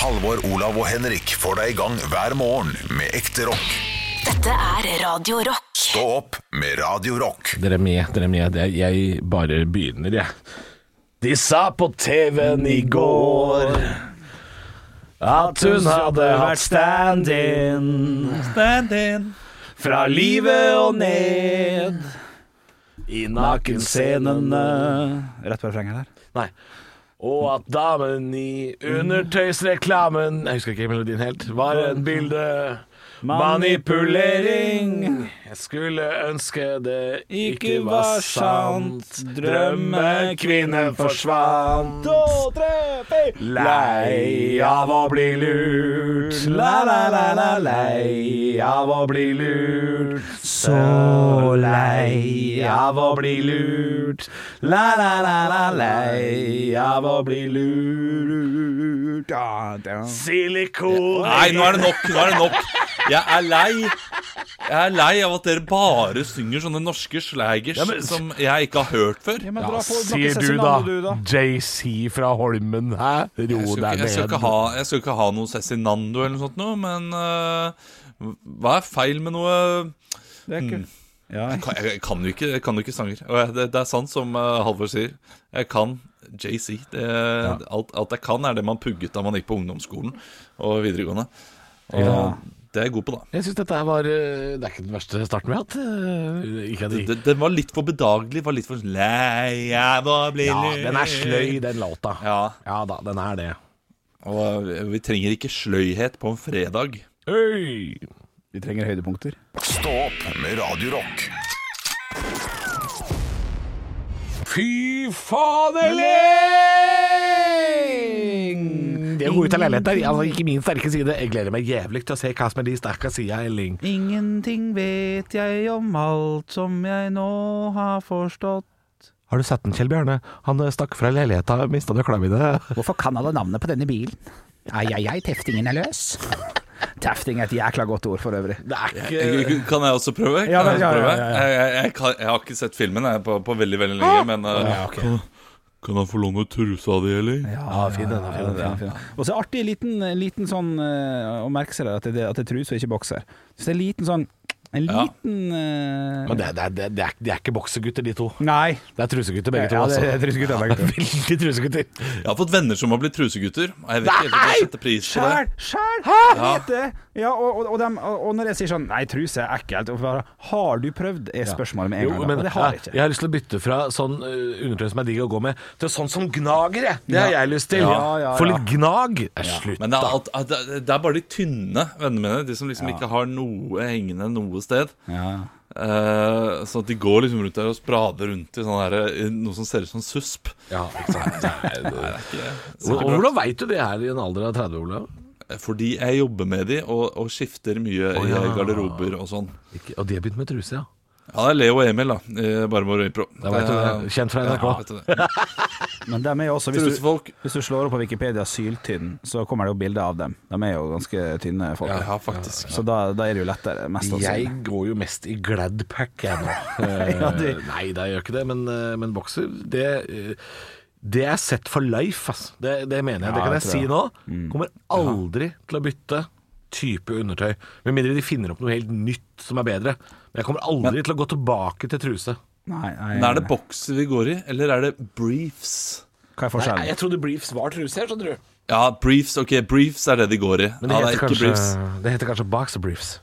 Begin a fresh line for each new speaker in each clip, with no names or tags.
Halvor, Olav og Henrik får deg i gang hver morgen med ekte rock.
Dette er Radio Rock.
Stå opp med Radio Rock.
Dere er med, dere er med. Det- Jeg bare begynner, jeg. De sa på TV-en i går at hun hadde vært stand-in
Stand-in.
fra livet og ned i nakenscenene.
Rett på refrenget der.
Nei. Og at damen i undertøysreklamen Jeg husker ikke melodien helt. Var en bilde Manipulering. Jeg skulle ønske det ikke var sant. Drømmekvinnen forsvant. Lei av å bli lurt. La, la, la, la, lei av å bli lurt. Så lei av å bli lurt. La, la, la, la, lei av å bli lurt. Silikon
Nei, nå er det nok! Nå er det nok. Jeg er lei. Jeg er lei av at dere bare synger sånne norske slagers
Ja, men-
som jeg ikke har hørt før. Jeg
Ja, sier du da, JC fra Holmen, hæ? Ro deg
skal,
ned.
ikke, jeg, skal ikke ha, jeg skal ikke ha noe Cezinando eller noe sånt noe, men øh, hva er feil med noe Kan- Jeg jeg kan jo ikke, jeg kan jo ikke sanger. Og jeg, det, det er sant som øh, Halvor sier. Jeg kan JC. Det, alt, alt jeg kan, er det man pugget da man gikk på ungdomsskolen og videregående. Og det er jeg god på, da.
Jeg syns dette her var eh, Det er ikke den verste starten vi har hatt. eh, Ikke at de-
Den, den var litt for bedagelig. Var litt for lei av å bli
Ja,
lurt.
den er sløy, den låta.
Ja,
Ja da, den er det.
og vi trenger ikke sløyhet på en fredag.
Øy!
Vi trenger høydepunkter.
Stå opp med Radio Rock.
Fy faderling! Det å gå ut av leilighet der, altså ikke min sterke side. Jeg gleder meg jævlig til å se hva som er de sterke sida, Elling.
Ingenting vet jeg om alt som jeg nå har forstått.
Har du sett den, Kjell Bjarne? Han eh, stakk fra leiligheta, mista nøkla mine.
Hvorfor kan alle navnet på denne bilen? Ai, ai, ai, teftingen er løs. Tefting er et jækla godt ord for øvrig.
Det er ikke
Kan jeg også prøve? Kan
Ja,
jeg, også
ja, ja,
prøve?
ja,
Jeg, jeg, jeg, kan, jeg har ikke sett filmen jeg, på, på veldig veldig lenge, men uh, kan, kan jeg få låne trusa di, eller?
Ja, fin den, fin den,
fin, fin. Og så artig liten, liten sånn eh, å merke seg der, at det, at det er trus og ikke bokser. Så det er en liten sånn En
Ja.
liten eh,
Men det, er- det, er- det, er- det, er, det er ikke boksegutter, de to.
Nei.
Det er trusegutter, begge to.
Ja, det
altså.
er trusegutter, begge to.
Veldig trusegutter.
Jeg har fått venner som har blitt trusegutter. Og jeg vet ikke helt om jeg setter pris på det.
Sjæl! Sjæl!
Ja.
Vet det! Ja, og, og, og, dem, og og når jeg sier sånn Nei, truse er ekkelt. og bare, Har du prøvd? er spørsmålet med en
Jo,
gang. da.
men
Og det
ja,
har jeg ikke.
jeg har lyst til å bytte fra sånn eh, undertøy som er digg å gå med, til sånn som gnager, jeg. Det har
Ja.
jeg lyst til.
Ja, ja,
Få
ja.
litt gnag. Eh, Slutt,
Men det er,
da.
alt, det er- det er bare de tynne vennene mine, de som liksom ikke har noe hengende noe sted.
Ja.
Eh, så at de går liksom rundt der og sprader rundt i, sånn her, i noe som ser ut som susp.
Ja, ikke sant. Nei, det-
Så-
Og Hvordan veit du det her i en alder av 30, Olav?
Fordi jeg jobber med de og, og skifter mye i
ja.
garderober og sånn.
Ikke, og de har begynt med truse, ja.
Ja, det er Leo og Emil, da. Eh, i Barmor Øypro.
Da vet du det. Kjent fra NRK.
Eh, Ja, vet du det.
Men dem er jo også, hvis du,
Trusefolk.
hvis du slår opp på Wikipedia 'syltynn', så kommer det jo bilder av dem. De er jo ganske tynne folk.
Ja, faktisk.
Så da, da er det jo lettere. Mest sannsynlig.
Jeg går jo mest i Gladpack, jeg nå.
Ja, du-
Eh, Nei, da, jeg gjør ikke det, men, eh, men bokser det, eh, det er set for life, ass. Det, det mener jeg. det
Ja,
kan jeg,
jeg tror
si nå. Kommer aldri til å bytte type undertøy. Med mindre de finner opp noe helt nytt som er bedre. Men jeg kommer aldri til å gå tilbake til truse.
Nei, nei,
Men er det bokser vi går i, eller er det briefs?
Hva er
Nei,
forskjellen?
jeg trodde briefs var truse, jeg, skjønner du.
Ja, briefs. Ok, briefs er det de går i.
Men det,
ja, det
heter,
er ikke briefs.
kanskje, det heter kanskje boxer briefs.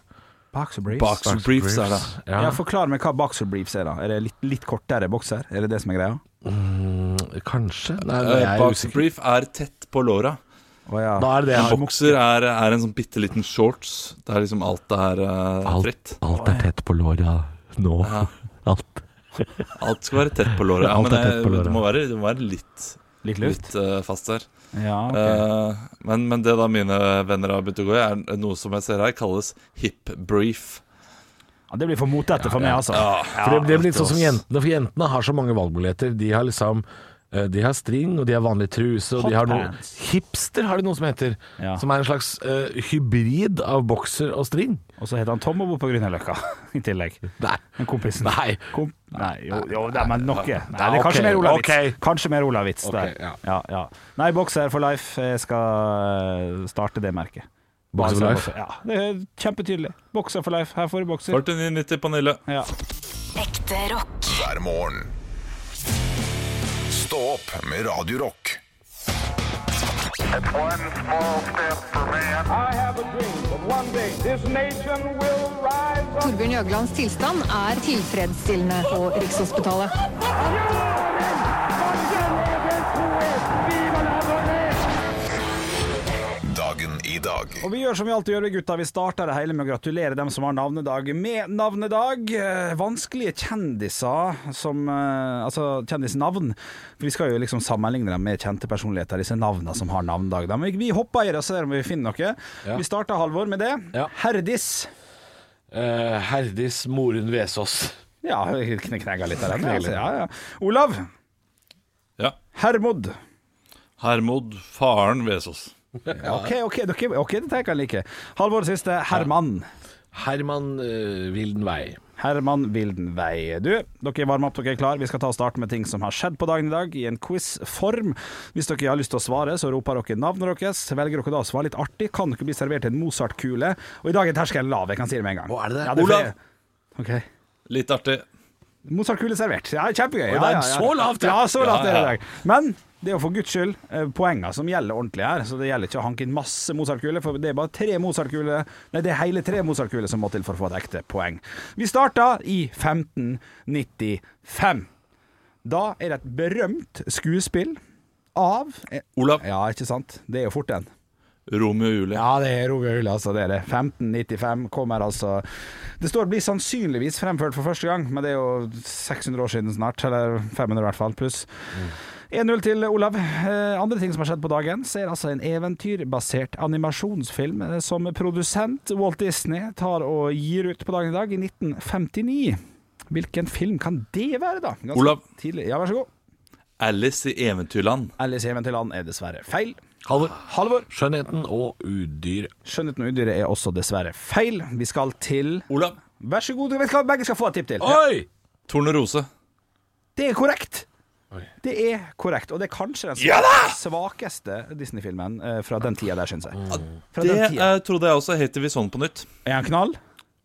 Boxer briefs.
Boxer briefs er det.
Ja. Forklar meg hva boxer briefs er, da. Er det litt, litt kortere bokser? Er det det som er greia?
Kanskje? Nei,
Eh,
jeg er
boxer
usikker.
brief er tett på låra.
Å, ja.
Da er det det jeg har.
Bokser er, er en sånn bitte liten shorts. Det er liksom alt det er eh, fritt.
alt er tett på låra nå.
Ja.
Alt.
Alt skal være tett på låret. Ja,
Alt
men
er tett
eh,
på låret.
det må være, det må være litt,
Litt luft?
litt eh, fast der.
Ja, ok.
Eh, men, men det da mine venner har begynt å gå i, er noe som jeg ser her kalles hip brief.
ja, det blir for motete for meg, altså.
sånn For det, det blir litt sånn som jentene, for jentene har så mange valgmuligheter. De har liksom Eh, De har string, og de har vanlig truse, og
Hot
de har noe
pants.
Hipster har de noe som heter.
Ja.
Som er en slags eh, hybrid av bokser og string.
Og så heter han Tom og bor på Grünerløkka i tillegg.
Nei.
Men kompisen
Nei.
Kom, nei, jo, jo det er men noe. Nei, det er
ok,
kanskje mer Olavits.
ok.
Kanskje mer Olavits
Ok,
der.
ja.
Ja, ja. Nei, Boxer for life. Jeg skal eh, starte det merket.
Boxer for
Bare
life?
så- Ja, det er kjempetydelig. Boxer for life. Her får du bokser.
49,90 på Nille.
Ja.
Ekte rock.
hver morgen. Stå opp med Radio Rock.
One small step for man.
I have a dream that one day this nation will rise up.
Torbjørn Jøglands tilstand er tilfredsstillende på Rikshospitalet.
Dagen i dag.
Og vi gjør som vi alltid gjør, vi gutta. Vi starter det hele med å gratulere dem som har navnedag med navnedag. Eh, Vanskelige kjendiser som eh, Altså kjendisnavn. For vi skal jo liksom sammenligne dem med kjente personligheter, disse navnene som har navnedag. Da. Men vi- vi hopper i det og ser om vi finner noe. Vi starter Halvor med det.
Ja.
Herdis.
Eh, Herdis Morun Vesaas.
Ja, jeg kn- knegga litt der.
Knegga
Altså,
litt.
ja, ja. Olav.
Ja.
Hermod.
Hermod faren Vesaas.
OK, OK, dere, ok, dette her kan jeg like. Halvor siste. Herman.
Herman eh, Wildenvei.
Herman Wildenvei. Du, dere varmer opp, dere er klar. Vi skal ta og starte med ting som har skjedd på dagen i dag, i en quiz-form. Hvis dere har lyst til å svare, så roper dere navnet deres. Velger dere da å svare litt artig, kan dere bli servert en Mozart-kule. Og i dag er terskelen lav, jeg kan si det med en gang.
Å, er det det?
Ja,
Olav!
fordi- Ok.
Litt artig.
Mozart-kule servert. Ja, kjempegøy. Ja,
det er
ja, ja.
så lavt,
ja.
ja.
så lavt er det i
Ja, ja.
dag. Men det er jo for guds skyld eh, poengene som gjelder ordentlig her. Så det gjelder ikke å hanke inn masse Mozart-kuler, for det er bare tre Mozart-kuler Nei, det er hele tre Mozart-kuler som må til for å få et ekte poeng. Vi starta i 1595. Da er det et berømt skuespill av
Olav.
Ja, ikke sant? Det er jo fort en.
Romeo og Julie.
Ja, det er Roger Ull, altså. Det er det. 1595 kommer altså Det står 'blir sannsynligvis fremført for første gang', men det er jo 600 år siden snart. Eller 500 i hvert fall, pluss. 1-0 til Olav. Eh, andre ting som har skjedd på dagen, så er det altså en eventyrbasert animasjonsfilm eh, som produsent Walt Disney tar og gir ut på dagen i dag, i 1959. Hvilken film kan det være, da? Ganske
Olav.
Tidlig. Ja, vær så god.
Alice i Eventyrland.
Alice i Eventyrland er dessverre feil.
Halvor.
Halvor.
Skjønnheten og udyret.
Skjønnheten og udyret er også dessverre feil. Vi skal til
Olav.
Vær så god, du vet hva begge skal få et tipp til.
Oi!
Tornerose.
Det er korrekt! Det er korrekt, og det er kanskje den svakeste Disney-filmen eh, fra den tida der, syns jeg. Fra
Det
den tida.
eh, trodde jeg også. Heter vi sånn på nytt?
Er han knall?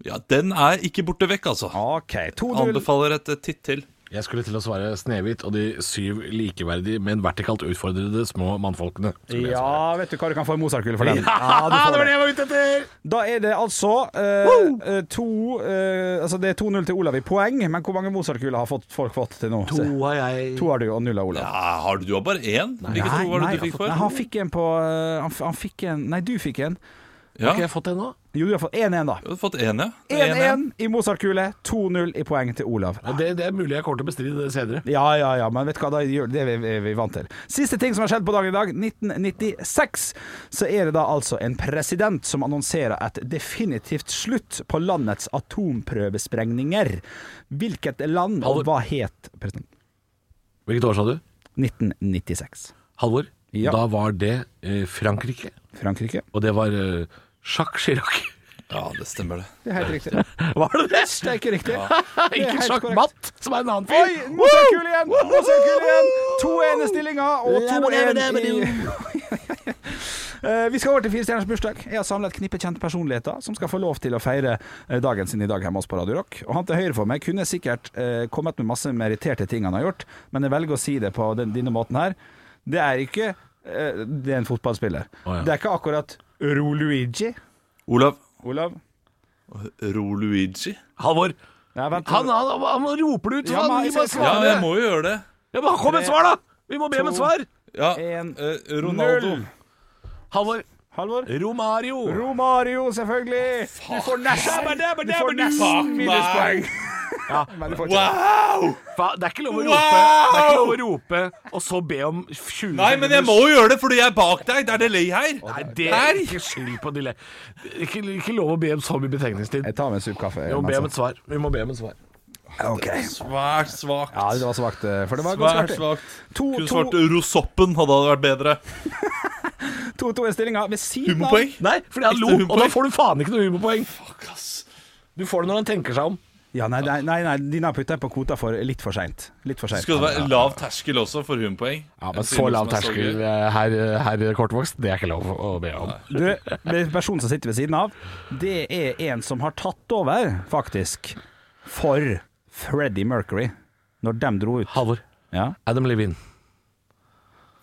Ja, den er ikke borte vekk, altså.
OK. 2-0.
Anbefaler et eh, titt til.
Jeg skulle til å svare Snehvit og de syv likeverdige, men vertikalt utfordrede små mannfolkene. skulle jeg
Ja,
svare.
vet du hva du kan få i Mozart-kule for den?
Ah,
du får
det var
det.
det jeg var ute etter!
Da er det altså eh, eh, to eh, Altså, det er 2-0 til Olav i poeng, men hvor mange Mozart-kuler har fått, folk fått til nå? Se.
har jeg
To har du, og null har Olav.
Ja, har du, du har bare én? Hvilke to var det du fikk
nei,
for?
han fikk en på eh, han, f- han fikk en Nei, du fikk en.
Ja,
Har ikke
du
jeg fått det nå?
Jo, du har fått 1-1, da.
har fått én, ja. 1-1.
1-1 i Mozart-kule, 2-0 i poeng til Olav.
Ja, det, det er mulig jeg kommer til å bestride det senere.
Ja, ja, ja, men vet du hva, da gjør det vi, vi, vi vant til. Siste ting som har skjedd på dagen i dag, 1996, så er det da altså en president som annonserer et definitivt slutt på landets atomprøvesprengninger. Hvilket land, og
Halvor.
hva het president?
Hvilket år sa du?
1996.
Halvor?
Ja.
Da var det eh, Frankrike,
Frankrike?
og det var eh, Jacques Chirac.
Ja, det stemmer, det.
Det er helt riktig.
Var det det?
Det er ikke riktig. Det er
Ikke
helt
Jacques
korrekt.
Matt, som er en annen
Oi,
fyr.
Mozart-kule igjen! Mozart-kule igjen! 2-1 i stillinga, og 2-1 i Eh, Vi skal over til Fire stjerners bursdag. Jeg har samla et knippe kjente personligheter som skal få lov til å feire eh, dagen sin i dag hjemme hos på Radio Rock. Og han til høyre for meg kunne sikkert eh, kommet med masse meritterte ting han har gjort, men jeg velger å si det på den, denne måten her. Det er ikke eh, Det er en fotballspiller.
Å, ja.
Det er ikke akkurat Roluigi.
Olav.
Olav?
Roluigi.
Halvor,
Ja, vent.
han, han, han, roper det ut,
Ja,
for
men
han
jeg
gir meg
skal-
Ja,
svar.
jeg må jo gjøre det.
Ja, men kom med et svar, da! Vi må be om et svar.
Ja,
En,
eh, Ronaldo.
null.
Halvor.
Halvor?
Romario.
Romario, selvfølgelig! Du får nesten, du får nesten minuspoeng. Men du får ikke det.
Wow!
Fa, det er ikke lov å rope, det er ikke lov å rope og så be om 20
Nei, men jeg må jo gjøre det, fordi jeg er bak deg. Det er delay her.
Nei, det
Her.
er ikke skyld på delay. Ikke, ikke lov å be om så mye betegningstid.
Jeg tar med en sup kaffe.
Vi må
Jens,
be om
altså.
et svar. Vi må be om et svar.
Ok.
Svært svakt.
Ja, det var svakt, eh, for det var
Svært
ganske artig.
svakt.
To-
Kunne
to-
svart Rosoppen, hadde det vært bedre.
2-2 er stillinga. Ved siden av
Humorpoeng?
Nei, fordi han
Ekte
lo, og da
humorpoeng.
får du faen ikke noe humorpoeng.
Fuck, ass.
Du får det når han tenker seg om.
Ja, nei, nei, nei, nei dine har putta på kvota for litt for seint. Litt for seint.
Skulle det være lav terskel også for humorpoeng?
Ja, men
En
så
film
lav
som er så
terskel,
gøy.
eh, herr her Kortvokst, det er ikke lov å be om.
Du, personen som sitter ved siden av, det er en som har tatt over, faktisk, for Freddie Mercury. Når dem dro ut.
Halvor.
Ja,
Adam Levine.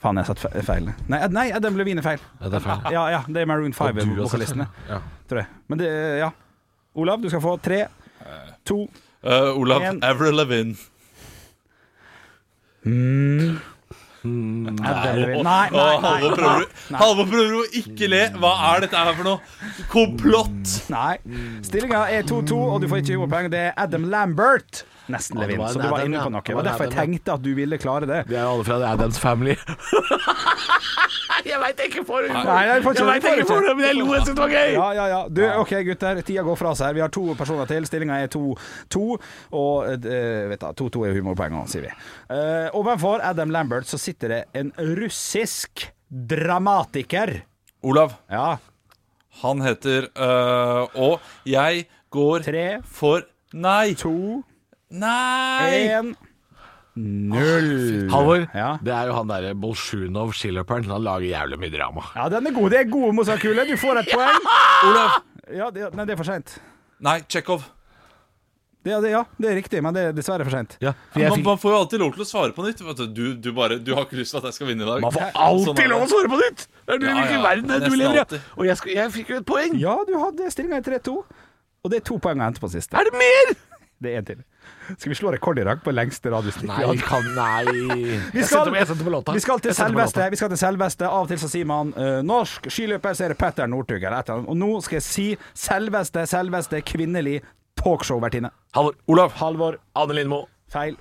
faen, jeg satt fe- feil. Nei, nei Adam Levine er feil.
Ja, det er feil.
Ja, ja, det er Maroon
Og du har sett
5-vokalistene,
det. Ja.
tror jeg. Men det, ja. Olav, du skal få tre, to
Eh, Olav
En-
Avril Lavigne.
Adam Levine. Nei, nei,
Å,
nei.
Halvor prøver, Halvor prøver å ikke le. Hva er dette her for noe? Komplott!
Nei. Stillinga er 2-2, og du får ikke humorpoeng. Det er Adam Lambert. Nesten
Ja, det
Levin,
var en
så du var
Adam,
inne
ja.
på noe.
Det
Det
var en
var derfor jeg
Adam,
tenkte at du ville klare det.
De er jo alle fra The Addams Family. jeg veit ikke for humor!
Nei, nei,
jeg vet
får ikke det, får
ikke for
ikke.
det, men jeg lo jeg syntes det var gøy!
Ja, ja, ja. Du, OK, gutter. Tida går fra oss her. Vi har to personer til. Stillinga er 2-2. Og eh, vet da, 2-2 er humorpoengene, sier vi. Eh, ovenfor Adam Lambert så sitter det en russisk dramatiker.
Olav,
Ja.
han heter eh, Og jeg går
Tre.
for Nei!
To,
Nei!
én, null.
Halvor,
Ja.
det er jo han derre Bolsjunov skiløperen. Han lager jævlig mye drama.
Ja, den er god. Det er gode mosakule. Du får et poeng.
Olav!
Ja, det, nei, det er for seint.
Nei, Tsjekhov.
Det, det, ja, det er riktig, men det er dessverre for seint.
Ja, for jeg
Man,
fikk,
man får jo alltid lov til å svare på nytt. vet Du, du, du, bare, du har ikke lyst til at jeg skal vinne i dag.
man får
Sånn
alltid
er
lov å
det.
svare på nytt! Det er du
Ja,
hvilken
ja,
verden er det du
nesten
lever i!
alltid.
Og jeg, skal, jeg fikk jo et poeng!
Ja, du hadde stillinga i 3-2, og det er to poeng å hente på siste.
Er det mer?!
Det er en til. Skal vi slå rekord i dag på lengste radiostikk?
Nei, kan, nei.
Vi
Jeg
skal,
setter på- jeg setter på låta.
vi skal til
Jeg setter på låta.
selveste. Vi skal til selveste. Av og til så sier man eh, norsk skiløper, så er det Petter Northug eller et eller annet. Og nå skal jeg si selveste, selveste kvinnelig talkshow-vertinne.
Halvor.
Olav.
Halvor.
Anne Lindmo.
Feil.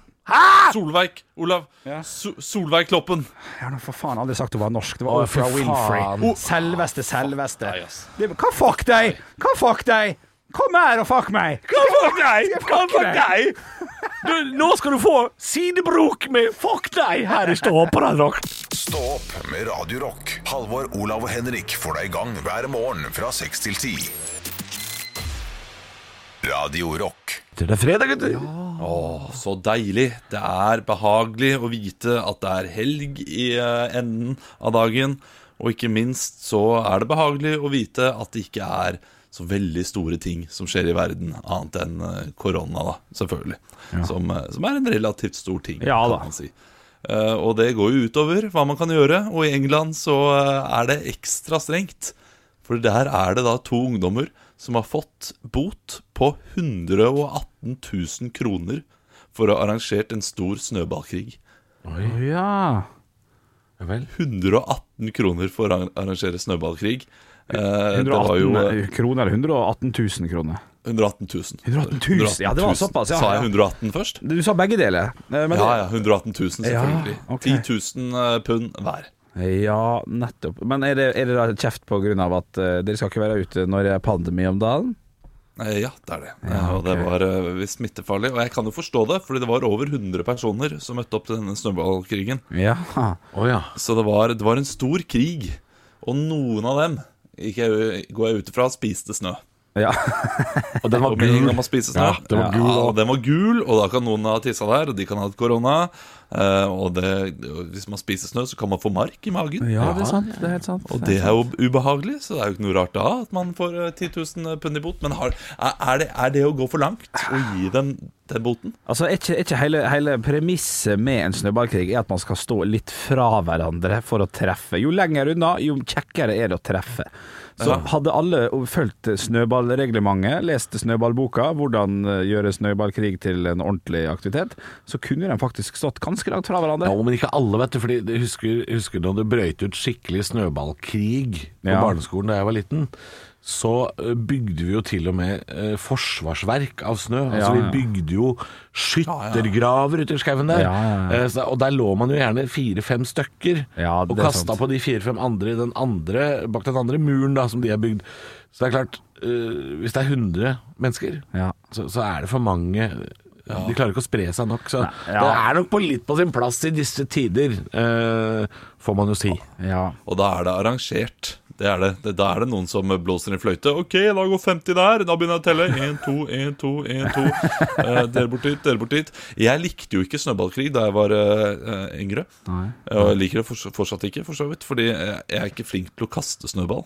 Solveig. Olav.
Ja.
So Solveig Kloppen.
Jeg har nå for faen aldri sagt hun var norsk. Det var
Å,
Oprah
fy
Winfrey.
faen.
Oh, Selveste, selveste.
deg, ass.
Det, hva fuck deg? Hva fuck deg? Kom her og fuck meg!
Hva for deg? Hva for
deg?
deg? Du, nå skal du få sidebrok med fuck deg her i ståa på Randrock.
Stå opp med Radio Rock. Halvor, Olav og Henrik får deg i gang hver morgen fra 6 til 10. Radio Rock.
Det er fredag, gutter.
Åh, så deilig. Det er behagelig å vite at det er helg i eh, enden av dagen. Og ikke minst så er det behagelig å vite at det ikke er så veldig store ting som skjer i verden, annet enn eh, korona, da, selvfølgelig. Som, eh, som er en relativt stor ting,
Ja da.
kan man si. Eh, og det går jo utover hva man kan gjøre, og i England så eh, er det ekstra strengt. For der er det da to ungdommer som har fått bot på 118 000 kroner for å ha arrangert en stor snøballkrig.
Ja.
118 kroner for å arrangere snøballkrig. Eh, det var
118
jo eh,
kroner eller 118 000 kroner?
118 000.
118 000, ja, det var såpass, ja,
Sa
ja.
jeg 118 først?
Du sa begge deler. Eh, Men
Ja, ja. 118 000, selvfølgelig.
Ja, ok.
10 000 eh, pund hver.
Ja, nettopp. Men er det, er det da kjeft på grunn av at eh, dere skal ikke være ute når det er pandemi om dagen?
Eh, Ja, det er det. Eh, Og det var eh, visst smittefarlig. Og jeg kan jo forstå det, fordi det var over 100 personer som møtte opp til denne snøballkrigen.
Ja.
Så det var, det var en stor krig. Og noen av dem, gikk jeg, går jeg ut ifra, spiste snø.
ja.
Og den var
Og med en
gul.
gang man spiser snø,
Ja, den var gul
ja,
også.
og den var gul, og da kan noen ha tissa der, og de kan ha hatt korona. Eh, og det, hvis man spiser snø, så kan man få mark i magen.
det er sant. Det er helt sant.
Og det er jo ubehagelig, så det er jo ikke noe rart da at man får eh, 10 000 pund i bot. Men har, er, det, er det å gå for langt å gi dem den boten?
Altså, er ikke, er ikke hele, hele premisset med en snøballkrig er at man skal stå litt fra hverandre for å treffe? Jo lenger unna, jo kjekkere er det å treffe. Så hadde alle fulgt snøballreglementet, lest snøballboka, hvordan eh, gjøre snøballkrig til en ordentlig aktivitet, så kunne de faktisk stått ganske langt fra hverandre.
Ja, men ikke alle, vet du. Fordi jeg husker, husker da det brøyt ut skikkelig snøballkrig på
Ja.
barneskolen da jeg var liten. Så eh, bygde vi jo til og med eh, forsvarsverk av snø. Altså
Ja, ja.
Vi bygde jo skyttergraver ute i skauen der.
Ja, ja, ja.
Eh, så- og der lå man jo gjerne fire-fem stykker
Ja, det
og
er
kasta
sant.
på de fire-fem andre, i den andre bak den andre muren da som de har bygd. Så det er klart, eh, hvis det er 100 mennesker,
Ja.
så, så er det for mange De klarer ikke å spre seg nok. Så det
ja.
er nok på litt på sin plass i disse tider, eh, får man jo si.
Ja.
Og da er det arrangert. Det er det. Det- Da er det noen som blåser i fløyte. OK, da går 50 der. Da begynner jeg å telle. 1, 2, 1, 2, 1, 2. Eh, dere bort dit, dere bort dit. Jeg likte jo ikke snøballkrig da jeg var eh, eh, yngre. Og jeg liker det forts- fortsatt ikke, for så vidt. Fordi jeg jeg er ikke flink til å kaste snøball.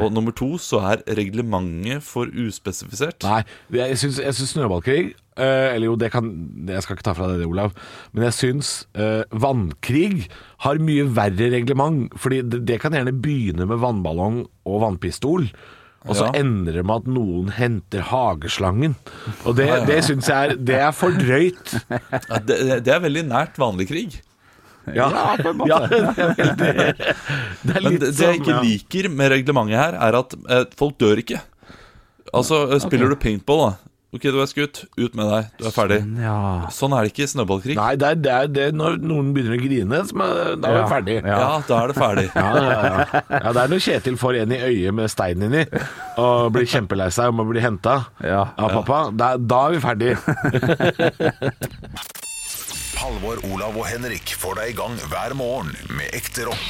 Og nummer to så er reglementet for uspesifisert.
Nei, jeg syns, jeg syns snøballkrig eh, Eller jo, det kan Jeg skal ikke ta fra deg det, Olav. Men jeg syns eh, vannkrig har mye verre reglement. Fordi det, det kan gjerne begynne med vannballong og vannpistol. Og så
Ja.
ender det med at noen henter hageslangen. Og det, det syns jeg er Det er for drøyt.
Ja, Det, det- det er veldig nært vanlig krig.
Ja, på en måte. det er vel det. Det er
Men
litt
det, det jeg
som-
ikke
ja.
liker med reglementet her, er at eh, folk dør ikke. Altså, eh, spiller du paintball, da. Ok, du er skutt. Ut med deg. Du er ferdig. Sånn er det ikke i snøballkrig.
Nei, det er, det er det når noen begynner å grine, som er- da er vi ferdig.
Ja. da er det ferdig.
Ja, ja, ja. ja, det er når Kjetil får en i øyet med stein inni og blir kjempelei seg om å bli henta
Ja.
av pappa, da, da er vi ferdige.
Halvor, Olav og Henrik får deg i gang hver morgen med ekte rock.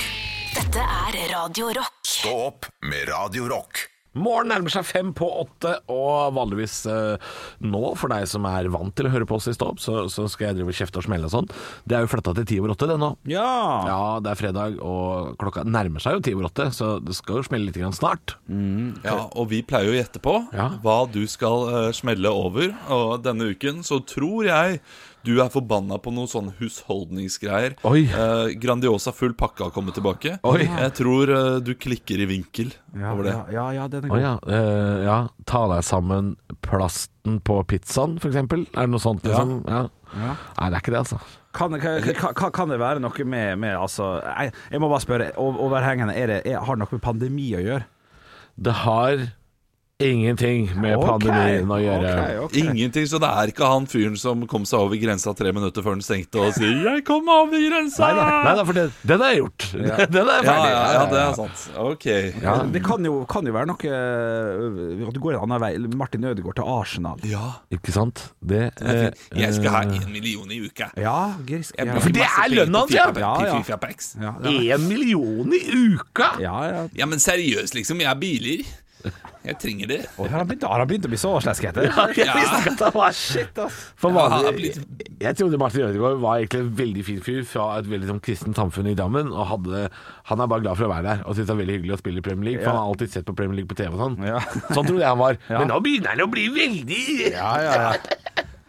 Dette er Radio Rock.
Stå opp med Radio Rock.
Morgen nærmer seg fem på åtte, og vanligvis eh, nå, for deg som er vant til å høre på oss i stå opp, så, så skal jeg drive og kjefte og smelle og sånn. Det er jo flytta til ti over åtte, det nå.
Ja.
Ja, det er fredag, og klokka nærmer seg jo ti over åtte, så det skal jo smelle litt grann snart.
Ja, og vi pleier jo å gjette på
Ja.
hva du skal eh, smelle over. Og denne uken så tror jeg du er forbanna på noen sånne husholdningsgreier.
Oi.
Eh, grandiosa full pakke har kommet tilbake.
Oi.
Jeg tror eh, du klikker i vinkel over det.
Ja, ja, ja, den
Å
er god.
ja, eh, ja. Ta deg sammen plasten på pizzaen, for eksempel. Er det noe sånt, liksom? Ja. Nei, det er ikke det, altså.
Kan, kan, kan, kan det være noe med, med altså, jeg, jeg må bare spørre, o- overhengende, er det, er, har det noe med pandemi å gjøre?
Det har ingenting med
Ok,
pandemien å gjøre.
ok, ok.
Ingenting, så det er ikke han fyren som kom seg over grensa tre minutter før den stengte og sier 'jeg kom meg over grensa'!
Nei da, for det, den har jeg gjort. den er jeg
Ja,
ferdig.
ja, ja, det er sant. Ok. Ja,
Det kan jo, kan jo være noe øh, At du går en annen vei. Martin Ødegaard til Arsenal.
Ikke sant? Det, eh,
Jeg skal ha én million i uka.
Ja, grisk. Ja,
for det er lønna hans, ja!
Ja, ja.
ja!
Én eh, million i uka!
ja, ja.
Ja, men seriøst, liksom. Jeg har biler. Jeg trenger det.
Og har, han begynt, har han begynt å bli så sleskete?
Jeg visste ikke at det var
Shit, ass.
For
Ja, han er
vanlig,
blitt-
jeg trodde Martin Ødegaard var egentlig en veldig fin fyr fra et veldig sånn kristent samfunn i Drammen. Og hadde, han er bare glad for å være der og syns det er veldig hyggelig å spille i Premier League. For han har alltid sett på Premier League på TV og sånn.
Ja.
Sånn trodde jeg han var. Men nå begynner han å bli veldig
Ja, ja, ja.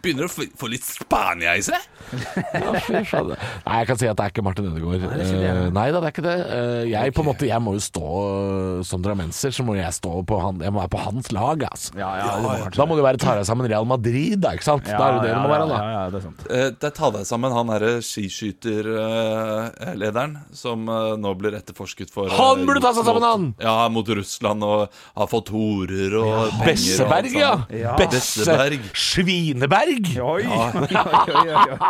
Begynner å få få litt Spania i seg.
Ja, fy faen. Nei, jeg kan si at det er ikke Martin Ødegaard. Nei,
det er ikke det, nei.
da, det er ikke det. Eh, Jeg, på en måte, jeg må jo stå eh, som drammenser, så må jeg stå på han, jeg må være på hans lag, altså.
Ja, ja, det må kanskje
Da må du være ta deg sammen Real Madrid, da, ikke sant? da er det det det må være, da.
Ja, ja, det er sant.
Eh, Der tar deg sammen han derre skiskyterlederen som eh, nå blir etterforsket for eh,
Han burde ta seg sammen, han!
Ja, mot Russland og har fått horer og penger.
Besseberg, ja.
Ja.
Besseberg.
Besseberg. Svineberg!
Oi, oi, oi, oi, oi.
Besseberg.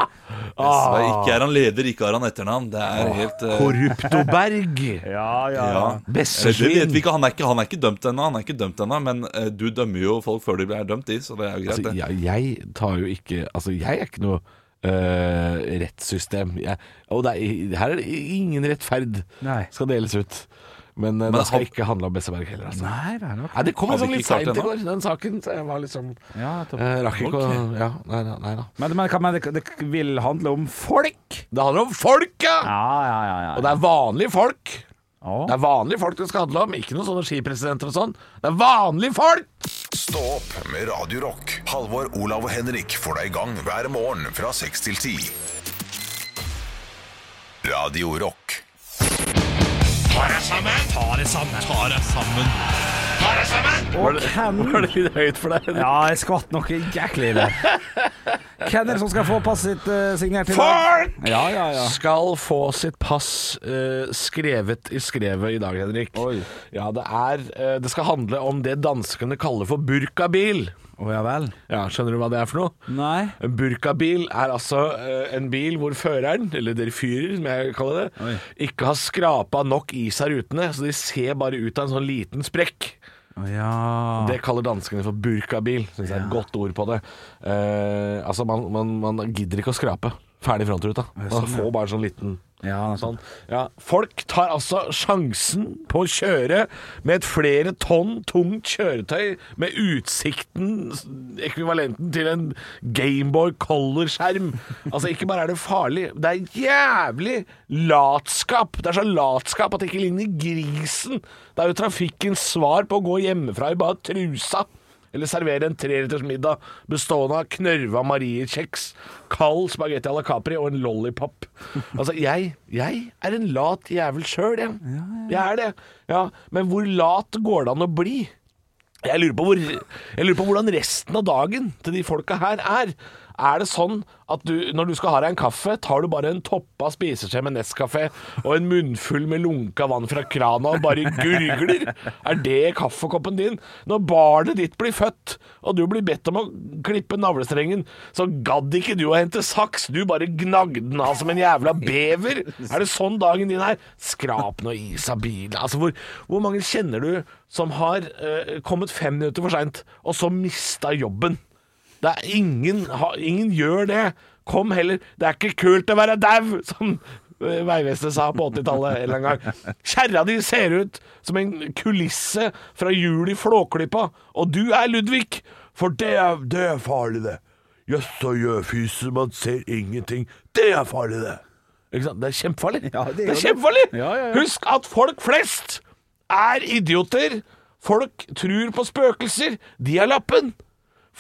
Ah.
Ikke er han leder, ikke har han etternavn. Det er helt eh,
Korruptoberg!
Ja, ja.
ja. Eller, det vet
Bessesvin!
vi ikke. Han er ikke, han er ikke dømt ennå, han er ikke dømt ennå, men eh, du dømmer jo folk før de blir dømt, de, så det er jo greit,
Altså,
det.
jeg, jeg tar jo ikke Altså, jeg er ikke noe øh, rettssystem. Jeg, og det er, her er det ingen rettferd
Nei.
skal deles ut. Men, øh, det skal ikke handle om Besseberg heller, altså. Nei,
Nei, det er nok
det kom
Hadde
liksom litt
ikke klart
seint i
det
går, den saken. Så jeg var liksom
ja, topp.
øh, Rakk ikke å Ja, nei, nei, nei da.
Men, men, men det, det vil handle om folk.
Det handler om folket! Ja.
Ja, ja, ja. ja.
Og det er vanlige folk.
Å.
Det er vanlige folk det skal handle om, ikke noen sånne skipresidenter og sånn. Det er vanlige folk!
Stå opp med Radio Rock. Halvor, Olav og Henrik får deg i gang hver morgen fra 6 til 10. Radio Rock.
Var det litt høyt for deg?
Ja, jeg skvatt noe jæklig i det. Hvem er det som skal få passet sitt eh, signert i dag?
Folk!
Ja, ja, ja.
skal få sitt pass eh, skrevet i skrevet i dag, Henrik.
Oi.
Ja, det, er, eh, det skal handle om det danskene kaller for burkabil.
Å ja vel.
Ja, skjønner du hva det er for noe?
Nei.
En burkabil er altså eh, en bil hvor føreren, eller dere fyrer som jeg kaller det,
Oi.
ikke har skrapa nok is av rutene, så de ser bare ut av en sånn liten sprekk.
Ja.
Det kaller danskene for burkabil. Synes jeg er et godt ord på det. Eh, altså, man, man, man gidder ikke å skrape. Ferdig frontruta. Man får bare sånn liten
Ja,
sånn. Ja. Folk tar altså sjansen på å kjøre med et flere tonn tungt kjøretøy med utsikten, ekvivalenten til en Gameboy Color-skjerm. Altså, ikke bare er det farlig, det er jævlig latskap. Det er så latskap at det ikke ligner grisen. Det er jo trafikkens svar på å gå hjemmefra i bare trusa. Eller servere en treretters middag bestående av knørva mariekjeks, kald spagetti à la Capri og en lollipop. Altså, jeg, jeg er en lat jævel sjøl, jeg. Jeg er det. Ja, men hvor lat går det an å bli? Jeg lurer, på hvor, jeg lurer på hvordan resten av dagen til de folka her er. Er det sånn at du, når du skal ha deg en kaffe, tar du bare en toppa spiseskje med Nescafé og en munnfull med lunka vann fra krana og bare gurgler? Er det kaffekoppen din? Når barnet ditt blir født, og du blir bedt om å klippe navlestrengen, så gadd ikke du å hente saks, du bare gnagde den av som en jævla bever. Er det sånn dagen din er? Skrap nå is av bilen. Altså, hvor, hvor mange kjenner du som har eh, kommet fem minutter for seint, og så mista jobben. Det er ingen, ha, ingen gjør det. Kom heller. Det er ikke kult å være dau, som eh, Vegvesenet sa på 80-tallet en eller annen gang. Kjerra di ser ut som en kulisse fra jul i Flåklypa, og du er Ludvig. For det er, det er farlig, det. Jøssa gjøfyser, man ser ingenting. Det er farlig, det. Ikke sant? Det er kjempefarlig.
Ja, det er
det,
jo
er
det.
kjempefarlig!
Ja, ja, ja.
Husk at folk flest er idioter. Folk tror på spøkelser. De har lappen.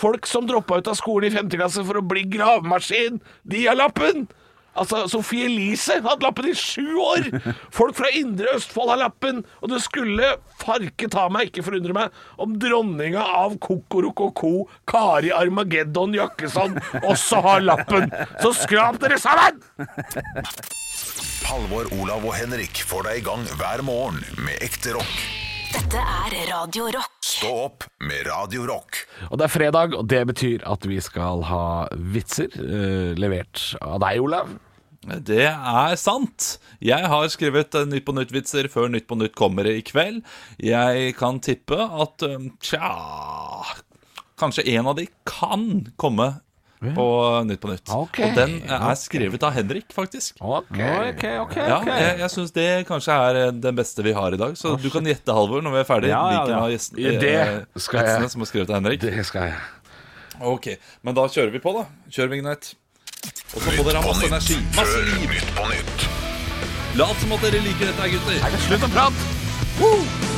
Folk som droppa ut av skolen i 5. klasse for å bli gravemaskin, de har lappen! Altså, Sofie Elise har hatt lappen i sju år! Folk fra indre Østfold har lappen! Og det skulle farke ta meg, ikke forundre meg, om dronninga av Kokorokoko, Kari Armageddon Jakkesson, også har lappen! Så skrap dere sammen!
Halvor, Olav og Henrik får deg i gang hver morgen med ekte rock.
Dette er Radio Rock.
Stå opp med Radio Rock.
Og det er fredag, og det betyr at vi skal ha vitser eh, levert av deg, Olav.
Det er sant. Jeg har skrevet eh, Nytt på nytt-vitser før Nytt på nytt kommer i kveld. Jeg kan tippe at eh, tja Kanskje en av de kan komme på eh, Nytt på nytt.
Ok.
Og den eh, er skrevet av Henrik, faktisk.
Ok, ok, ok.
Ja, jeg, jeg syns det kanskje er eh, den beste vi har i dag. Så du kan gjette, Halvor, når vi er ferdig.
Ja, ja,
Hvilken
ja.
av gjesten-
Ja, det
eh,
skal jeg.
vitsene som er skrevet av Henrik.
Det skal jeg.
Ok, Men da kjører vi på, da. Kjør vignett. Og så må dere ha
På
masse
nytt
energi. Masse
før
liv.
Nytt på nytt.
Lat som at dere liker dette, gutter.
Slutt å prate!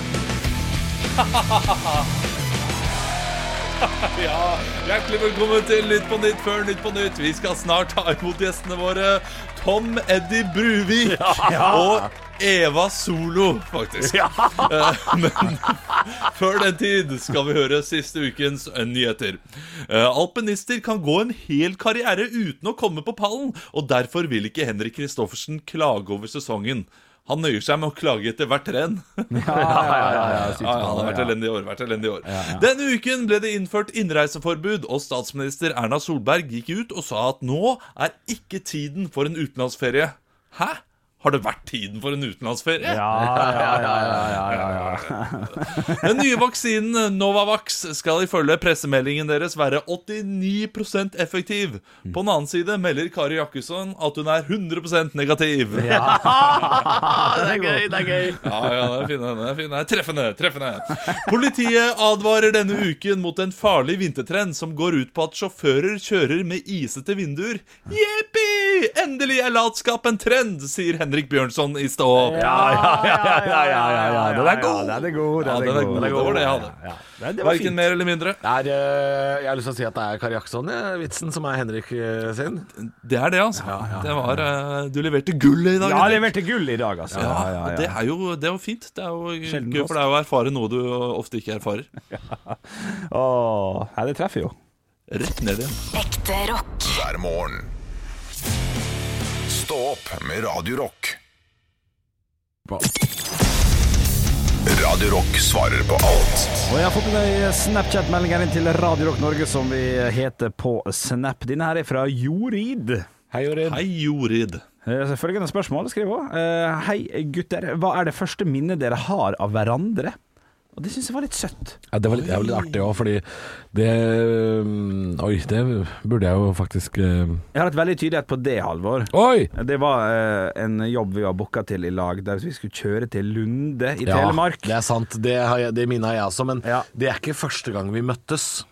Ja, Hjertelig velkommen til Nytt på Nytt før Nytt på Nytt. Vi skal snart ta imot gjestene våre Tom Eddie Bruvik og Eva Solo, faktisk. Eh, Men før den tid skal vi høre siste ukens nyheter. Eh, Alpinister kan gå en hel karriere uten å komme på pallen, og derfor vil ikke Henrik Kristoffersen klage over sesongen. Han nøyer seg med å klage etter hvert renn. Ja, ja, han har vært elendig i år. vært elendig i år Denne uken ble det innført innreiseforbud, og statsminister Erna Solberg gikk ut og sa at nå er ikke tiden for en utenlandsferie. Hæ? Har det vært tiden for en utenlandsferie? Den nye vaksinen Novavax skal ifølge pressemeldingen deres være 89 effektiv. På den annen side melder Kari Jakkesson at hun er 100 negativ.
Det er gøy, det er gøy.
Ja, ja, det er fine, det er fine. Treffende, treffende. Politiet advarer denne uken mot en farlig vintertrend som går ut på at sjåfører kjører med isete vinduer. Jippi! Endelig er latskap en trend, sier Henrik Bjørnson i Stå opp. Ja,
ja, ja, ja, ja. Den er god.
Den er god. Den
den
er
er
god.
god. Det var det jeg hadde.
det var
Verken mer eller mindre.
Det er, eh, jeg har lyst til å si at det er Kari Jaksson, ja, vitsen, som er Henrik eh, sin.
Det er det, altså. Det var, eh, du leverte gull i dag.
Ja,
Henrik.
leverte gull i dag, altså.
Ja, og Det er jo det er jo fint. Det er jo
Sjelden
gøy, for det er jo å erfare noe du ofte ikke erfarer.
Åh, ja, det treffer jo.
Rett ned igjen.
Ekte rock.
hver morgen. Stå opp med Radio Rock. Radio Rock svarer på alt
Og jeg har fått med ei Snapchat-melding her Eh, inn til Radio Rock Norge, som vi heter på Snap. Denne her er fra Jorid.
Hei, Jorid.
Hei, Jorid.
Eh, Følgende spørsmål skriver hun. Eh, Hei, gutter. Hva er det første minnet dere har av hverandre? Og det syns jeg var litt søtt.
Ja, det var litt, det er jo litt artig òg, fordi det øhm, Oi, det burde jeg jo faktisk øhm.
Jeg har hatt veldig tydelighet på det, Halvor.
Oi!
Det var eh, en jobb vi var booka til i lag, der vi skulle kjøre til Lunde i
Ja,
Telemark.
Det er sant. Det, har jeg- det minna jeg også, men
Ja.
det er ikke første gang vi møttes.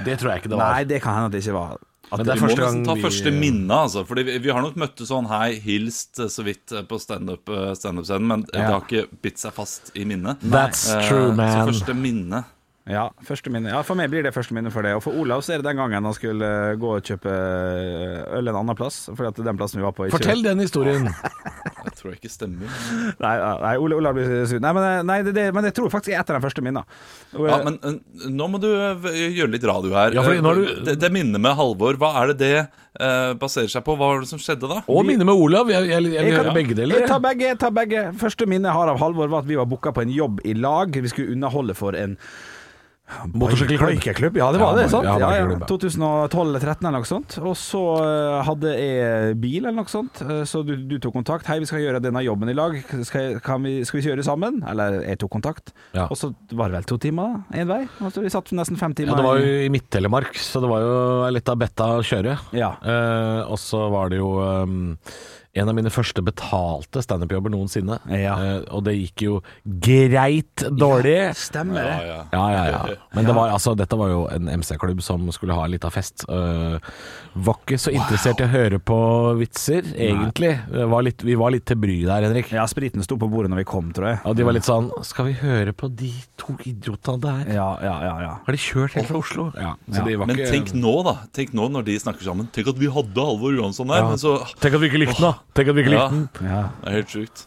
Det tror jeg ikke det var.
Nei, det kan hende at det ikke var at
Men det er
Vi må
første
nesten
gang
ta
vi-
første minne, altså. Fordi vi, vi har nok møttes sånn hei, hilst eh, så vidt eh, på standup, eh, standup-scenen, men eh, det har ikke bitt seg fast i minnet.
That's
Eh,
true,
altså,
man.
Så første minne
Ja, første minne. ja, for meg blir det første minne for det. Og for Olav så er det den gangen han skulle eh, gå og kjøpe eh, øl en annen plass. Fordi at den plassen vi var på ikke
Fortell den historien.
Jeg tror jeg ikke stemmer.
Nei, nei Ole, Olav blir sur. Nei, men, eh, nei det, det, men jeg tror faktisk jeg er et av de første minnene. Og,
Ja,
eh,
men eh, nå må du eh, gjøre litt radio her.
Oh, Ja, fordi nå har du-
Eh, det, det minnet med Halvor, hva er det det eh, baserer seg på? Hva var det som skjedde da?
Og minne med Olav. Jeg, jeg, jeg, vil
Jeg kan-
høre begge deler.
Jeg tar begge. jeg tar begge Første minne jeg har av Halvor, var at vi var booka på en jobb i lag. Vi skulle underholde for en
Motorsykkelklubb.
Boikeklubb, Ja, det var
Ja,
det.
boik-
sant?
ja,
Ja, ja,
boikeklubb, ja.
2012-2013 eller noe sånt. Og så eh, hadde jeg bil eller noe sånt, eh, så du, du tok kontakt. 'Hei, vi skal gjøre denne jobben i lag. Skal, jeg- kan vi, skal vi kjøre sammen?' Eller jeg tok kontakt.
Ja.
Og så var det vel to timer én vei. Og så vi satt nesten fem timer.
Ja, det var
i-
jo i Midt-Telemark, så det var jo litt av betta å kjøre.
Ja.
Eh, og så var det jo ehm, en av mine første betalte standup-jobber noensinne.
Ja.
Eh, og det gikk jo greit dårlig.
Stemmer det.
ja.
Ja, ja, ja. Men det var, altså, dette var jo en MC-klubb som skulle ha en liten fest. Eh, var ikke så interessert i å høre på vitser, egentlig. Det Var litt, vi var litt til bry der, Henrik.
Ja, spriten sto på bordet når vi kom, tror jeg.
Og de var litt sånn Skal vi høre på de to idiotene der?
Ja, ja, ja, ja.
Har de kjørt helt fra Oslo? Ja. Så de var
Men
ikke
tenk nå, da. Tenk nå når de snakker sammen. Tenk at vi hadde Halvor Johansson der,
Ja.
men så
Tenk at vi ikke likte den, da. Tenk at vi ikke
Ja,
likte den.
ja.
det er helt sjukt.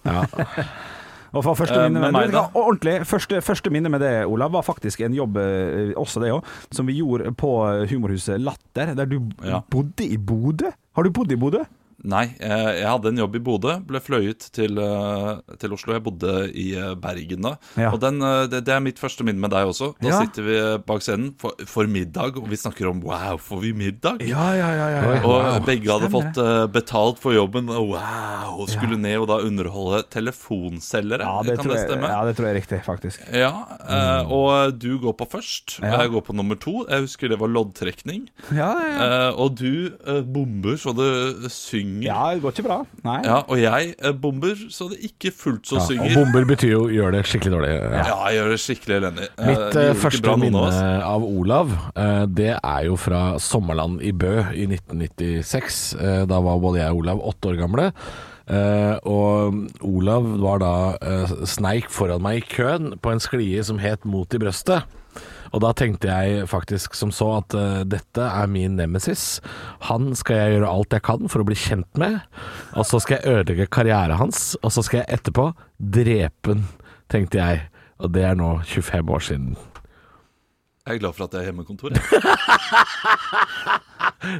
Og for første
Eh,
minne med,
med meg,
du, vet hva, Ordentlig, første, første minne med det, Olav, var faktisk en jobb, eh, også det òg, som vi gjorde på eh, humorhuset Latter, der du b-
Ja.
bodde i Bodø. Har du bodd i Bodø?
Nei, eh, jeg hadde en jobb i Bodø, ble fløyet til, eh, til Oslo. Jeg bodde i eh, Bergen da.
Ja.
Og den, eh, det, det er mitt første minne med deg også. Da
Ja.
sitter vi eh, bak scenen for, for middag, og vi snakker om wow, får vi middag?
Ja, ja, ja. ja,
Og begge hadde fått eh, betalt for jobben, og wow, og skulle ned og da underholde telefonselgere.
det
kan
tror
det
jeg,
stemme?
ja, det tror jeg er riktig, faktisk.
Ja, eh, og du går på først, og
Ja.
jeg går på nummer to. Jeg husker det var loddtrekning.
Ja, ja, ja.
Eh, og du eh, bomber så det synger.
ja det går ikke bra. Nei.
Ja, og jeg eh, bomber så det ikke fullt så
Og
synger.
bomber betyr jo gjør det skikkelig dårlig. Ja.
Ja, jeg gjør det skikkelig elendig. Eh,
Mitt
vi
eh,
gjorde ikke
første
bra, noen
minne
av oss.
av Olav, eh, det er jo fra Sommerland i Bø i 1996. Eh, da var både jeg og Olav åtte år gamle. Eh, og Olav var da eh, sneik foran meg i køen på en sklie som het Mot i brøstet. Og da tenkte jeg faktisk som så at eh, dette er min nemesis. Han skal jeg gjøre alt jeg kan for å bli kjent med, og så skal jeg ødelegge karrieren hans, og så skal jeg etterpå drepe han, tenkte jeg. Og det er nå 25 år siden.
Jeg er glad for at jeg er hjemmekontor. jeg.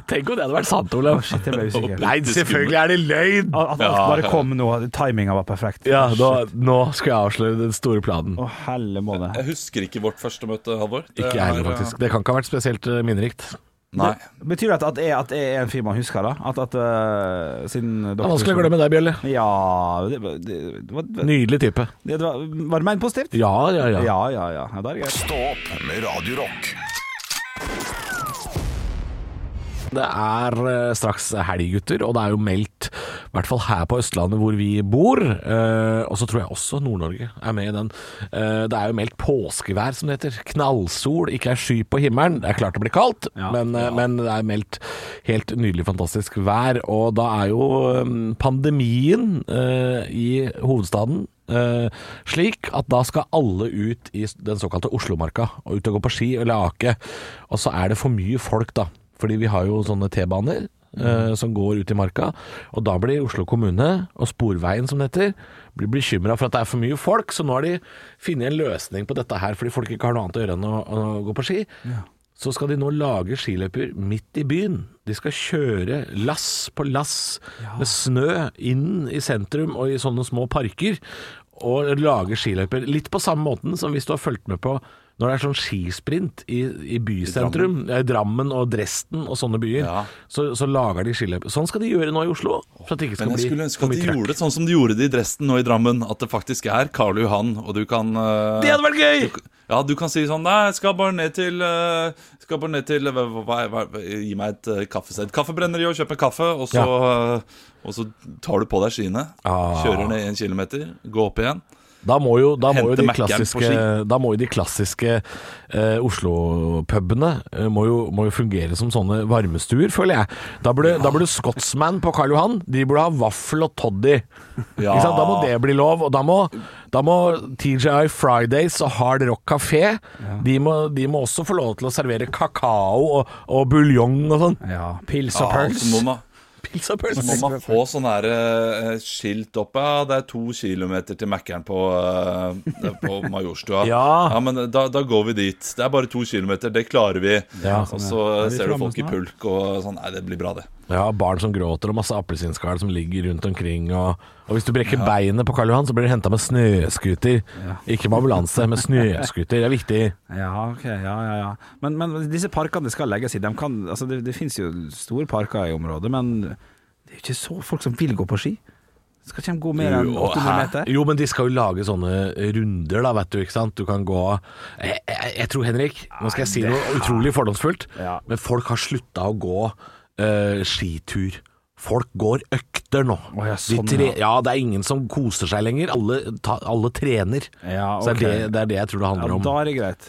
Tenk om det hadde vært sant, Olav.
Shit, jeg ble usikker.
Nei, selvfølgelig er det løgn!
At at alt bare kom nå. Timinga var perfekt.
Ja, nå,
Shit.
nå skal jeg avsløre den store planen.
Å, helle måne.
Jeg husker ikke vårt første møte, Halvor. Det
Ikke jeg heller,
er, eh,
faktisk. Det kan ikke ha vært spesielt eh, minnerikt.
Nei.
Betyr det at, at, jeg, at jeg er en fyr man husker, da? At, at eh, siden
Det er vanskelig å glemme deg, Bjølle.
Ja det, var- det, var-
Nydelig type.
Det var, var det ment positivt?
Ja, ja,
Ja,
ja.
ja, ja. ja da er det greit.
Stå opp med Radio Rock.
Det er eh, straks helg, gutter, og det er jo meldt, i hvert fall her på Østlandet hvor vi bor, eh, og så tror jeg også Nord-Norge er med i den. Eh, det er jo meldt påskevær, som det heter. Knallsol, ikke ei sky på himmelen. Det er klart det blir kaldt, men, eh, men det er meldt helt nydelig, fantastisk vær. Og da er jo eh, pandemien eh, i hovedstaden eh, slik at da skal alle ut i den såkalte Oslomarka og ut og gå på ski eller ake. Og så er det for mye folk, da. Fordi vi har jo sånne T-baner eh, som går ut i marka. Og da blir Oslo kommune, og Sporveien som det heter, blir bekymra for at det er for mye folk. Så nå har de funnet en løsning på dette her, fordi folk ikke har noe annet å gjøre enn å, å gå på ski. Så skal de nå lage skiløyper midt i byen. De skal kjøre lass på lass med snø inn i sentrum og i sånne små parker, og lage skiløyper. Litt på samme måten som hvis du har fulgt med på Når det er sånn skisprint i, i bysentrum, ja, i Drammen og Dresden og sånne byer,
Ja.
så, så lager de skiløp. Sånn skal de gjøre nå i Oslo. For at det ikke skal
Men jeg
bli
skulle ønske
for
at
mye
de
trøkk.
gjorde det sånn som de gjorde det i Dresden og i Drammen. At det faktisk er Karl Johan, og du kan eh,
Det hadde vært gøy!
Ja, du kan si sånn Nei, jeg skal bare ned til eh, Skal bare ned til hva, hva, hva, Gi meg et eh, kaffested. Kaffebrenneri og kjøp en kaffe, og så, eh, og så tar du på deg skiene.
Ah.
Kjører ned en kilometer, gå opp igjen.
Da må jo, da må jo
Hente
de
Mac-en på
klassiske, Eh, da må jo de klassiske eh, Oslo-pubene eh, må, jo- må jo fungere som sånne varmestuer, føler jeg. Da burde, da burde Scotsman på Karl Johan De burde ha vaffel og toddy.
Ja.
Ikke sant? Da må det bli lov. Og da må, da må TGI Fridays og Hard Rock Café de, må, de må også få lov til å servere kakao og, og buljong og sånn.
Ja, pils
Ja,
og pøls.
så må man,
Pils og
så
pølse.
må man få sånn her eh, skilt opp Ja, det er to kilometer til Mækkern på, eh, på Majorstua.
Ja.
men da, da går vi dit. Det er bare to kilometer, det klarer vi.
Ja,
og så
vi
ser du
framme
folk i
snart?
pulk og sånn. Nei, det blir bra, det.
Ja, barn som gråter og masse appelsinskall som ligger rundt omkring. Og, og hvis du brekker beinet på Karl Johan, så blir du henta med snøskuter. Ikke med ambulanse, men snøskuter. Det er viktig.
Ja, ok, ja, ja, ja. Men, men disse parkene det skal legges i, de kan, altså det, det finnes jo store parker i området, men det er jo ikke så folk som vil gå på ski. Skal ikke de gå mer enn
Jo,
800
hæ?
meter?
Jo, men de skal jo lage sånne runder, da, vet du. ikke sant? Du kan gå Jeg, jeg, jeg tror, Henrik, nå skal jeg si noe utrolig fordomsfullt,
Ja.
men folk har slutta å gå eh, skitur. Folk går økter nå.
Å, ja, sånn,
De tre, ja, Det er ingen som koser seg lenger. Alle, ta, alle trener.
Ja,
Så det er
ok.
det, det er det jeg tror det
Ja,
handler om.
da er det greit.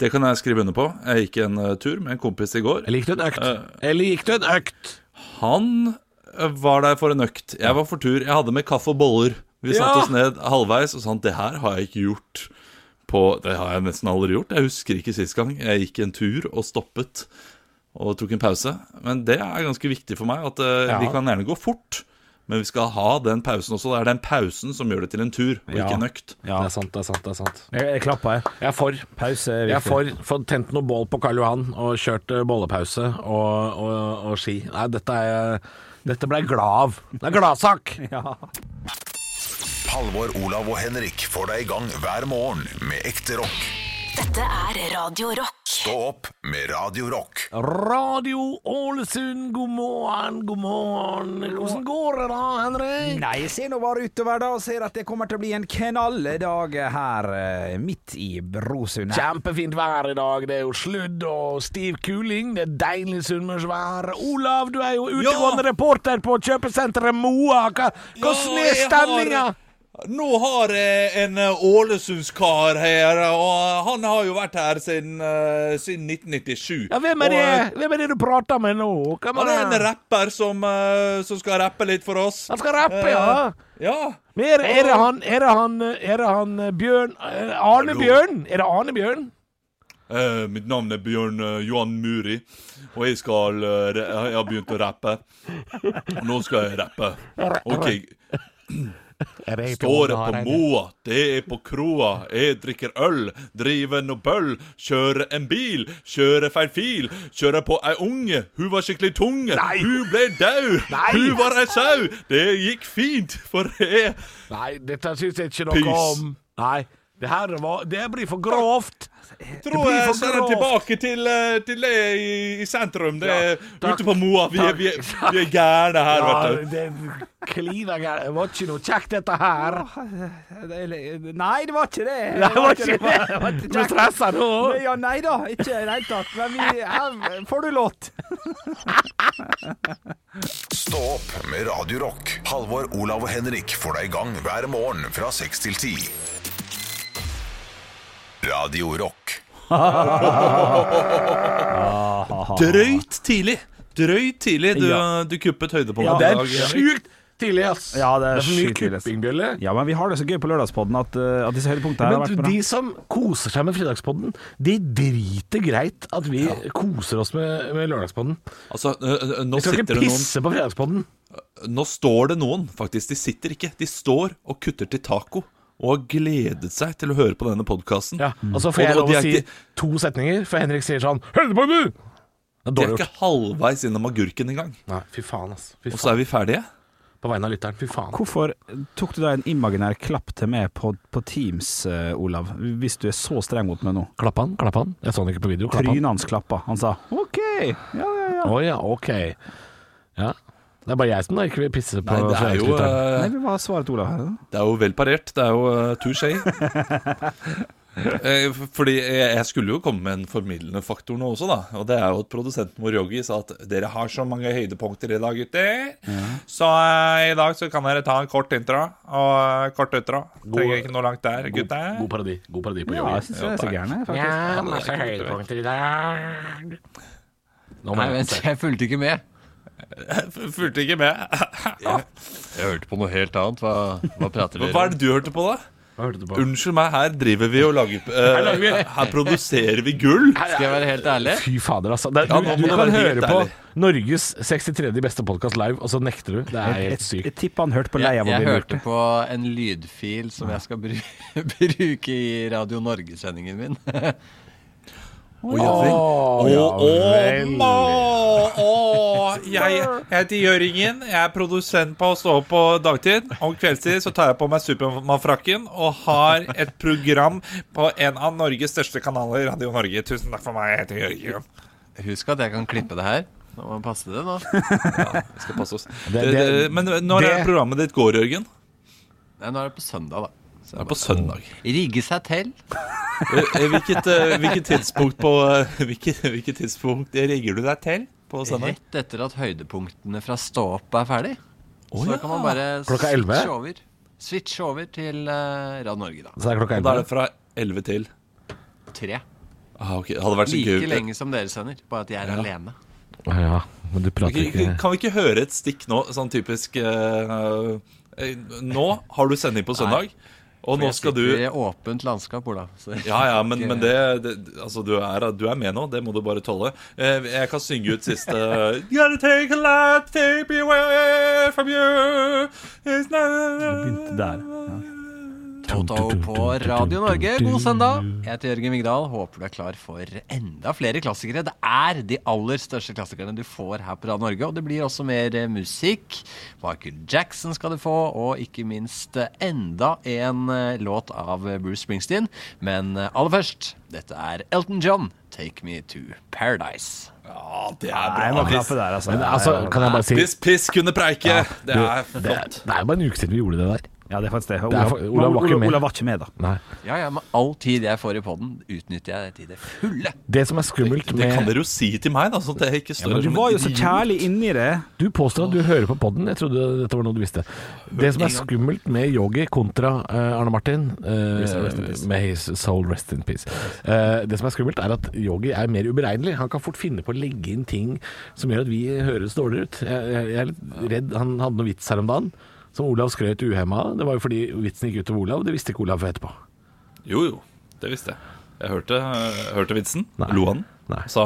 Det kan jeg skrive under på. Jeg gikk en eh, tur med en kompis i går.
Eller gikk du en økt?
Eh.
Eller gikk du en økt?
Han eh, var der for en økt. Jeg var for tur. Jeg hadde med kaffe og boller. Vi
Ja!
satte oss ned halvveis og sa at det her har jeg ikke gjort på Det har jeg nesten aldri gjort. Jeg husker ikke sist gang. Jeg gikk en tur og stoppet og tok en pause. Men det er ganske viktig for meg at eh, vi kan gjerne gå fort. Men vi skal ha den pausen også. Det er den pausen som gjør det til en tur, og
Ja.
ikke en økt.
Ja.
Det er sant, det er sant. det er sant
Jeg, jeg klapper her.
Jeg er for.
Pause er
Jeg er
viktig.
for. for tent noe bål på Karl Johan og kjørt eh, bollepause og, og, og ski. Nei, dette er jeg- Dette ble jeg glad av. Det er gladsak!
Halvor, Olav og Henrik får deg i gang hver morgen med ekte rock.
Dette er Radio Rock.
Stå opp med Radio Rock.
Radio Ålesund, god morgen, god morgen. Hvordan går det da, Henrik?
Nei, jeg ser nå bare utover da og ser at det kommer til å bli en knalldag her eh, midt i Brosund. her.
Kjempefint vær i dag. Det er jo sludd og stiv kuling. Det er deilig sunnmørsvær. Olav, du er jo utegående reporter på kjøpesenteret Moa. Hva- Hvordan er stemninga?
Nå har jeg en eh, Ålesundskar her, og eh, han har jo vært her siden, eh, siden 1997.
Ja, hvem er,
Og, eh,
det? hvem er det du prater med nå? Hvem
Han er
er
en rapper som, eh, som skal rappe litt for oss.
Han skal rappe, ja.
Eh, ja.
Men er, er, det han, er, det han, er det han eh, Bjørn eh, Arne Bjørn? Er det Arne Bjørn?
Eh, mitt navn er Bjørn eh, Johan Muri, og jeg skal eh, ra- Jeg har begynt å rappe. Nå skal jeg rappe. OK. Står jeg på Moa, det er på kroa. Jeg drikker øl, driver noe bøll. Kjører en bil, kjører feil fil. Kjører på ei unge, hun var skikkelig tunge. Hun ble dau,
Nei.
hun var ei sau. Det gikk fint, for jeg
Nei, dette syns jeg ikke
Pys.
noe om. Nei. Det her var Det blir for grovt.
tror
blir
jeg
for
sender den
grovt.
tilbake til, eh, til det i, i sentrum. Det
Ja,
er
takk.
ute på Moa. Vi er, vi er, vi er gærne her,
Ja,
vet du.
det kliner gærent. Det var ikke noe kjekt, dette her.
Eller, Nei, det var ikke det.
Nei, det var ikke det. Du er stressa nå?
Nei, Ja, nei da, ikke i det hele tatt. Men vi her får du låt.
Stå opp med Radio Rock. Halvor, Olav og Henrik får deg i gang hver morgen fra 6 til 10. Radio Rock.
Drøyt tidlig. Drøyt tidlig. Du,
Ja.
du kuppet høydepunktet.
Ja,
Det
i
er
dag, Henrik.
sjukt tidlig, ass.
Ja, det er
for mye
sjukt tidlig, ass.
kuppingbjølle.
Ja, men vi har det så gøy på lørdagspodden at, eh, at disse høydepunktene her har vært
Men
bra.
de som koser seg med fredagspodden, de driter greit at vi koser oss med, med lørdagspodden.
Altså, øh, øh, nå
Vi skal
sitter
ikke
det noen
pisse på fredagspodden.
Nå står det noen, faktisk. De sitter ikke. De står og kutter til taco. Og har gledet seg til å høre på denne podkasten.
Ja, Mm. og så får jeg
Og-
lov
og de
å
er
si
ikke-
to setninger, for Henrik sier sånn Høydepunkter! Det er
De er
dårlig gjort.
ikke halvveis innom agurken engang.
Nei, fy faen, ass. Fy
Og så
faen.
er vi ferdige.
på vegne av lytteren. Fy faen.
Hvorfor tok du da en imaginær klapp til meg på, på Teams, eh, Olav, hvis du er så streng mot meg nå?
Klappa han, klappa han. Jeg så han ikke på video. Klappa han.
Trynet hans klappa. Han sa OK, ja, ja, ja.
Å ja, ok. Ja. Det er bare jeg som da ikke vil pisse på
Nei, det er jo,
Sørlandslytteren.
eh,
Nei, vi var svaret til Olav her. da.
det er jo vel parert. Det er jo uh, touché. Eh, f- Fordi jeg jeg skulle jo komme med en formidlende faktor nå også, da. Og det er jo at produsenten vår Yogi sa at dere har så mange høydepunkter i dag, gutter. Så eh, i dag så kan dere ta en kort intro og eh, kort utro. Trenger ikke noe langt der, gutter.
God parodi. God parodi på
Ja,
Yogi.
jeg syns det er så gæren, jeg, faktisk.
Ja, masse høydepunkter i dag. Nå må
Nei,
jeg
vent, jeg fulgte ikke med.
F- Fulgte ikke med.
Jeg hørte på noe helt annet. Hva, hva prater
Hva er det du hørte på, da?
Hva hørte du på?
Unnskyld meg, her driver vi og lager eh, Her produserer vi gull!
Skal jeg være helt ærlig?
Fy fader, altså. Det, er-
Ja,
du,
nå må
du
det
kan
være helt
høre på
ærlig.
Norges 63. beste podkast live, og så nekter du. Det er helt
Jeg, jeg
sykt.
tipper han hørte på
Jeg,
leia vår.
jeg hørte på en lydfil som jeg skal bru bruke i Radio Norge-sendingen min.
Å, ja vel. Å, å, å, å, Jeg jeg heter Jørgen. Jeg er produsent på å stå opp på dagtid. Om kveldstid så tar jeg på meg Supermann-frakken og har et program på en av Norges største kanaler, Radio Norge. Tusen takk for meg. Jeg heter Jørgen.
Husk at jeg kan klippe det her. Nå må man passe det, nå.
Vi skal passe oss.
Det- det-
Eh, Men når
det-
er programmet ditt går, Jørgen?
Nei, nå er det på søndag, da.
Det er på søndag.
Rigge seg til.
Eh, Hvilket, eh, hvilket tidspunkt på eh, hvilket, hvilket tidspunkt rigger du deg til på søndag?
Rett etter at høydepunktene fra Stå opp er ferdig.
Å,
så
ja.
kan man bare
Klokka 11?
switche over. Switche over til eh, Radio Norge, da.
Så det er klokka
Og da er
11.
det fra 11 til
Tre.
ah, ok, Det hadde vært så
Like
gøy.
lenge som dere sender, bare at jeg er alene.
Ja, men du prater
Ok,
ikke
Kan vi ikke høre et stikk nå, sånn typisk eh, eh, Nå har du sending på søndag, og nå skal du
I åpent landskap, Olav. Så
ja, ja, men, men det, det Altså, du er, du er med nå. Det må du bare tåle. Eh, Jeg kan synge ut siste Gotta take a light, take me away from you It's not
begynte der.
Toto på Radio Norge, god søndag. Jeg heter Jørgen Migdal. Håper du er klar for enda flere klassikere. Det er de aller største klassikerne du får her på Radio Norge. Og det blir også mer eh, musikk. Michael Jackson skal du få, og ikke minst eh, enda en eh, låt av eh, Bruce Springsteen. Men eh, aller først, dette er Elton John, 'Take Me To Paradise'.
Ja, det er
Nei, jeg må
bra. Hvis,
klappe der, altså.
Men altså, kan jeg bare si
hvis piss kunne preike! det er
det er,
flott.
det er bare en uke siden vi gjorde det der.
Ja, det er faktisk det.
Det er
Olav,
for- Olav var ikke med.
Olav var ikke med, da.
Nei.
Ja, ja, men all tid jeg får i poden, utnytter jeg til det fulle.
Det som er skummelt
Det kan
med
dere jo si til meg, da, sånn at jeg ikke står her
Du
som
var
en
jo så
idiot.
kjærlig inni det.
Du påstår at du hører på podden. Jeg trodde dette var noe du visste. Det som er skummelt med yogi kontra eh, Arne Martin eh, Med his soul rest in peace. Eh, det som er skummelt, er at yogi er mer uberegnelig. Han kan fort finne på å legge inn ting som gjør at vi høres dårligere ut. Jeg, jeg, jeg er litt redd han hadde noe vits her om dagen. Som Olav skrøt uhemma av. Det var jo fordi vitsen gikk utover Olav, det visste ikke Olav etterpå.
Jo, jo. Det visste jeg. Jeg hørte, jeg hørte vitsen.
Nei.
Lo han.
Nei.
Sa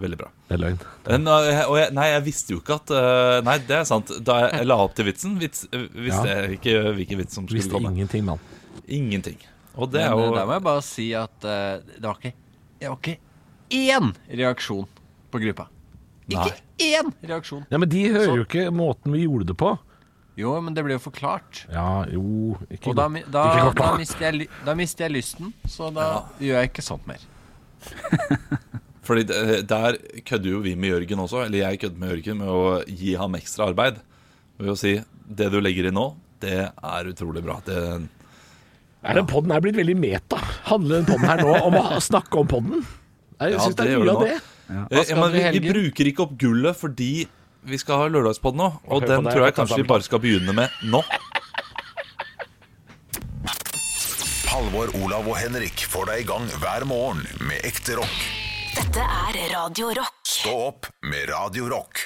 veldig bra.
Det er løgn.
Men, uh, jeg- og jeg, nei, jeg visste jo ikke at uh, Nei, det er sant. Da jeg la opp til vitsen, vits, uh, visste
Ja.
jeg ikke hvilken vits som skulle
Visste
komme.
ingenting, mann.
Ingenting. Og det er
Men eh, der må
jo
jeg bare si at eh, det var ikke Det var ikke én reaksjon på gruppa.
Nei.
Ikke én reaksjon.
Ja, men de hører jo ikke måten vi gjorde det på.
Jo, men det ble jo forklart.
Ja, jo ikke
Og da,
godt.
mi- da,
Ikke godt
da,
nok.
mister, jeg, ly- da mister jeg lysten, så da gjør jeg ikke sånt mer.
Fordi det- der kødder jo vi med Jørgen også. Eller jeg kødder med Jørgen med å gi ham ekstra arbeid. Ved å si det du legger i nå, det er utrolig bra. Det,
Er den podden her blitt veldig meta? Handler den podden her nå om å snakke om podden? Jeg
Ja,
synes det
det
er
gjør
mye av
det
det.
Eh,
skal
ja, men
dere i
vi, vi
helgen?
bruker ikke opp gullet fordi vi skal ha lørdagspodden nå.
hør
Og
på
den
deg,
tror jeg
Kjartan
kanskje vi
Samler.
bare skal begynne med nå.
Halvor, Olav og Henrik får deg i gang hver morgen med ekte rock.
Dette er Radio Rock.
Stå opp med Radio Rock.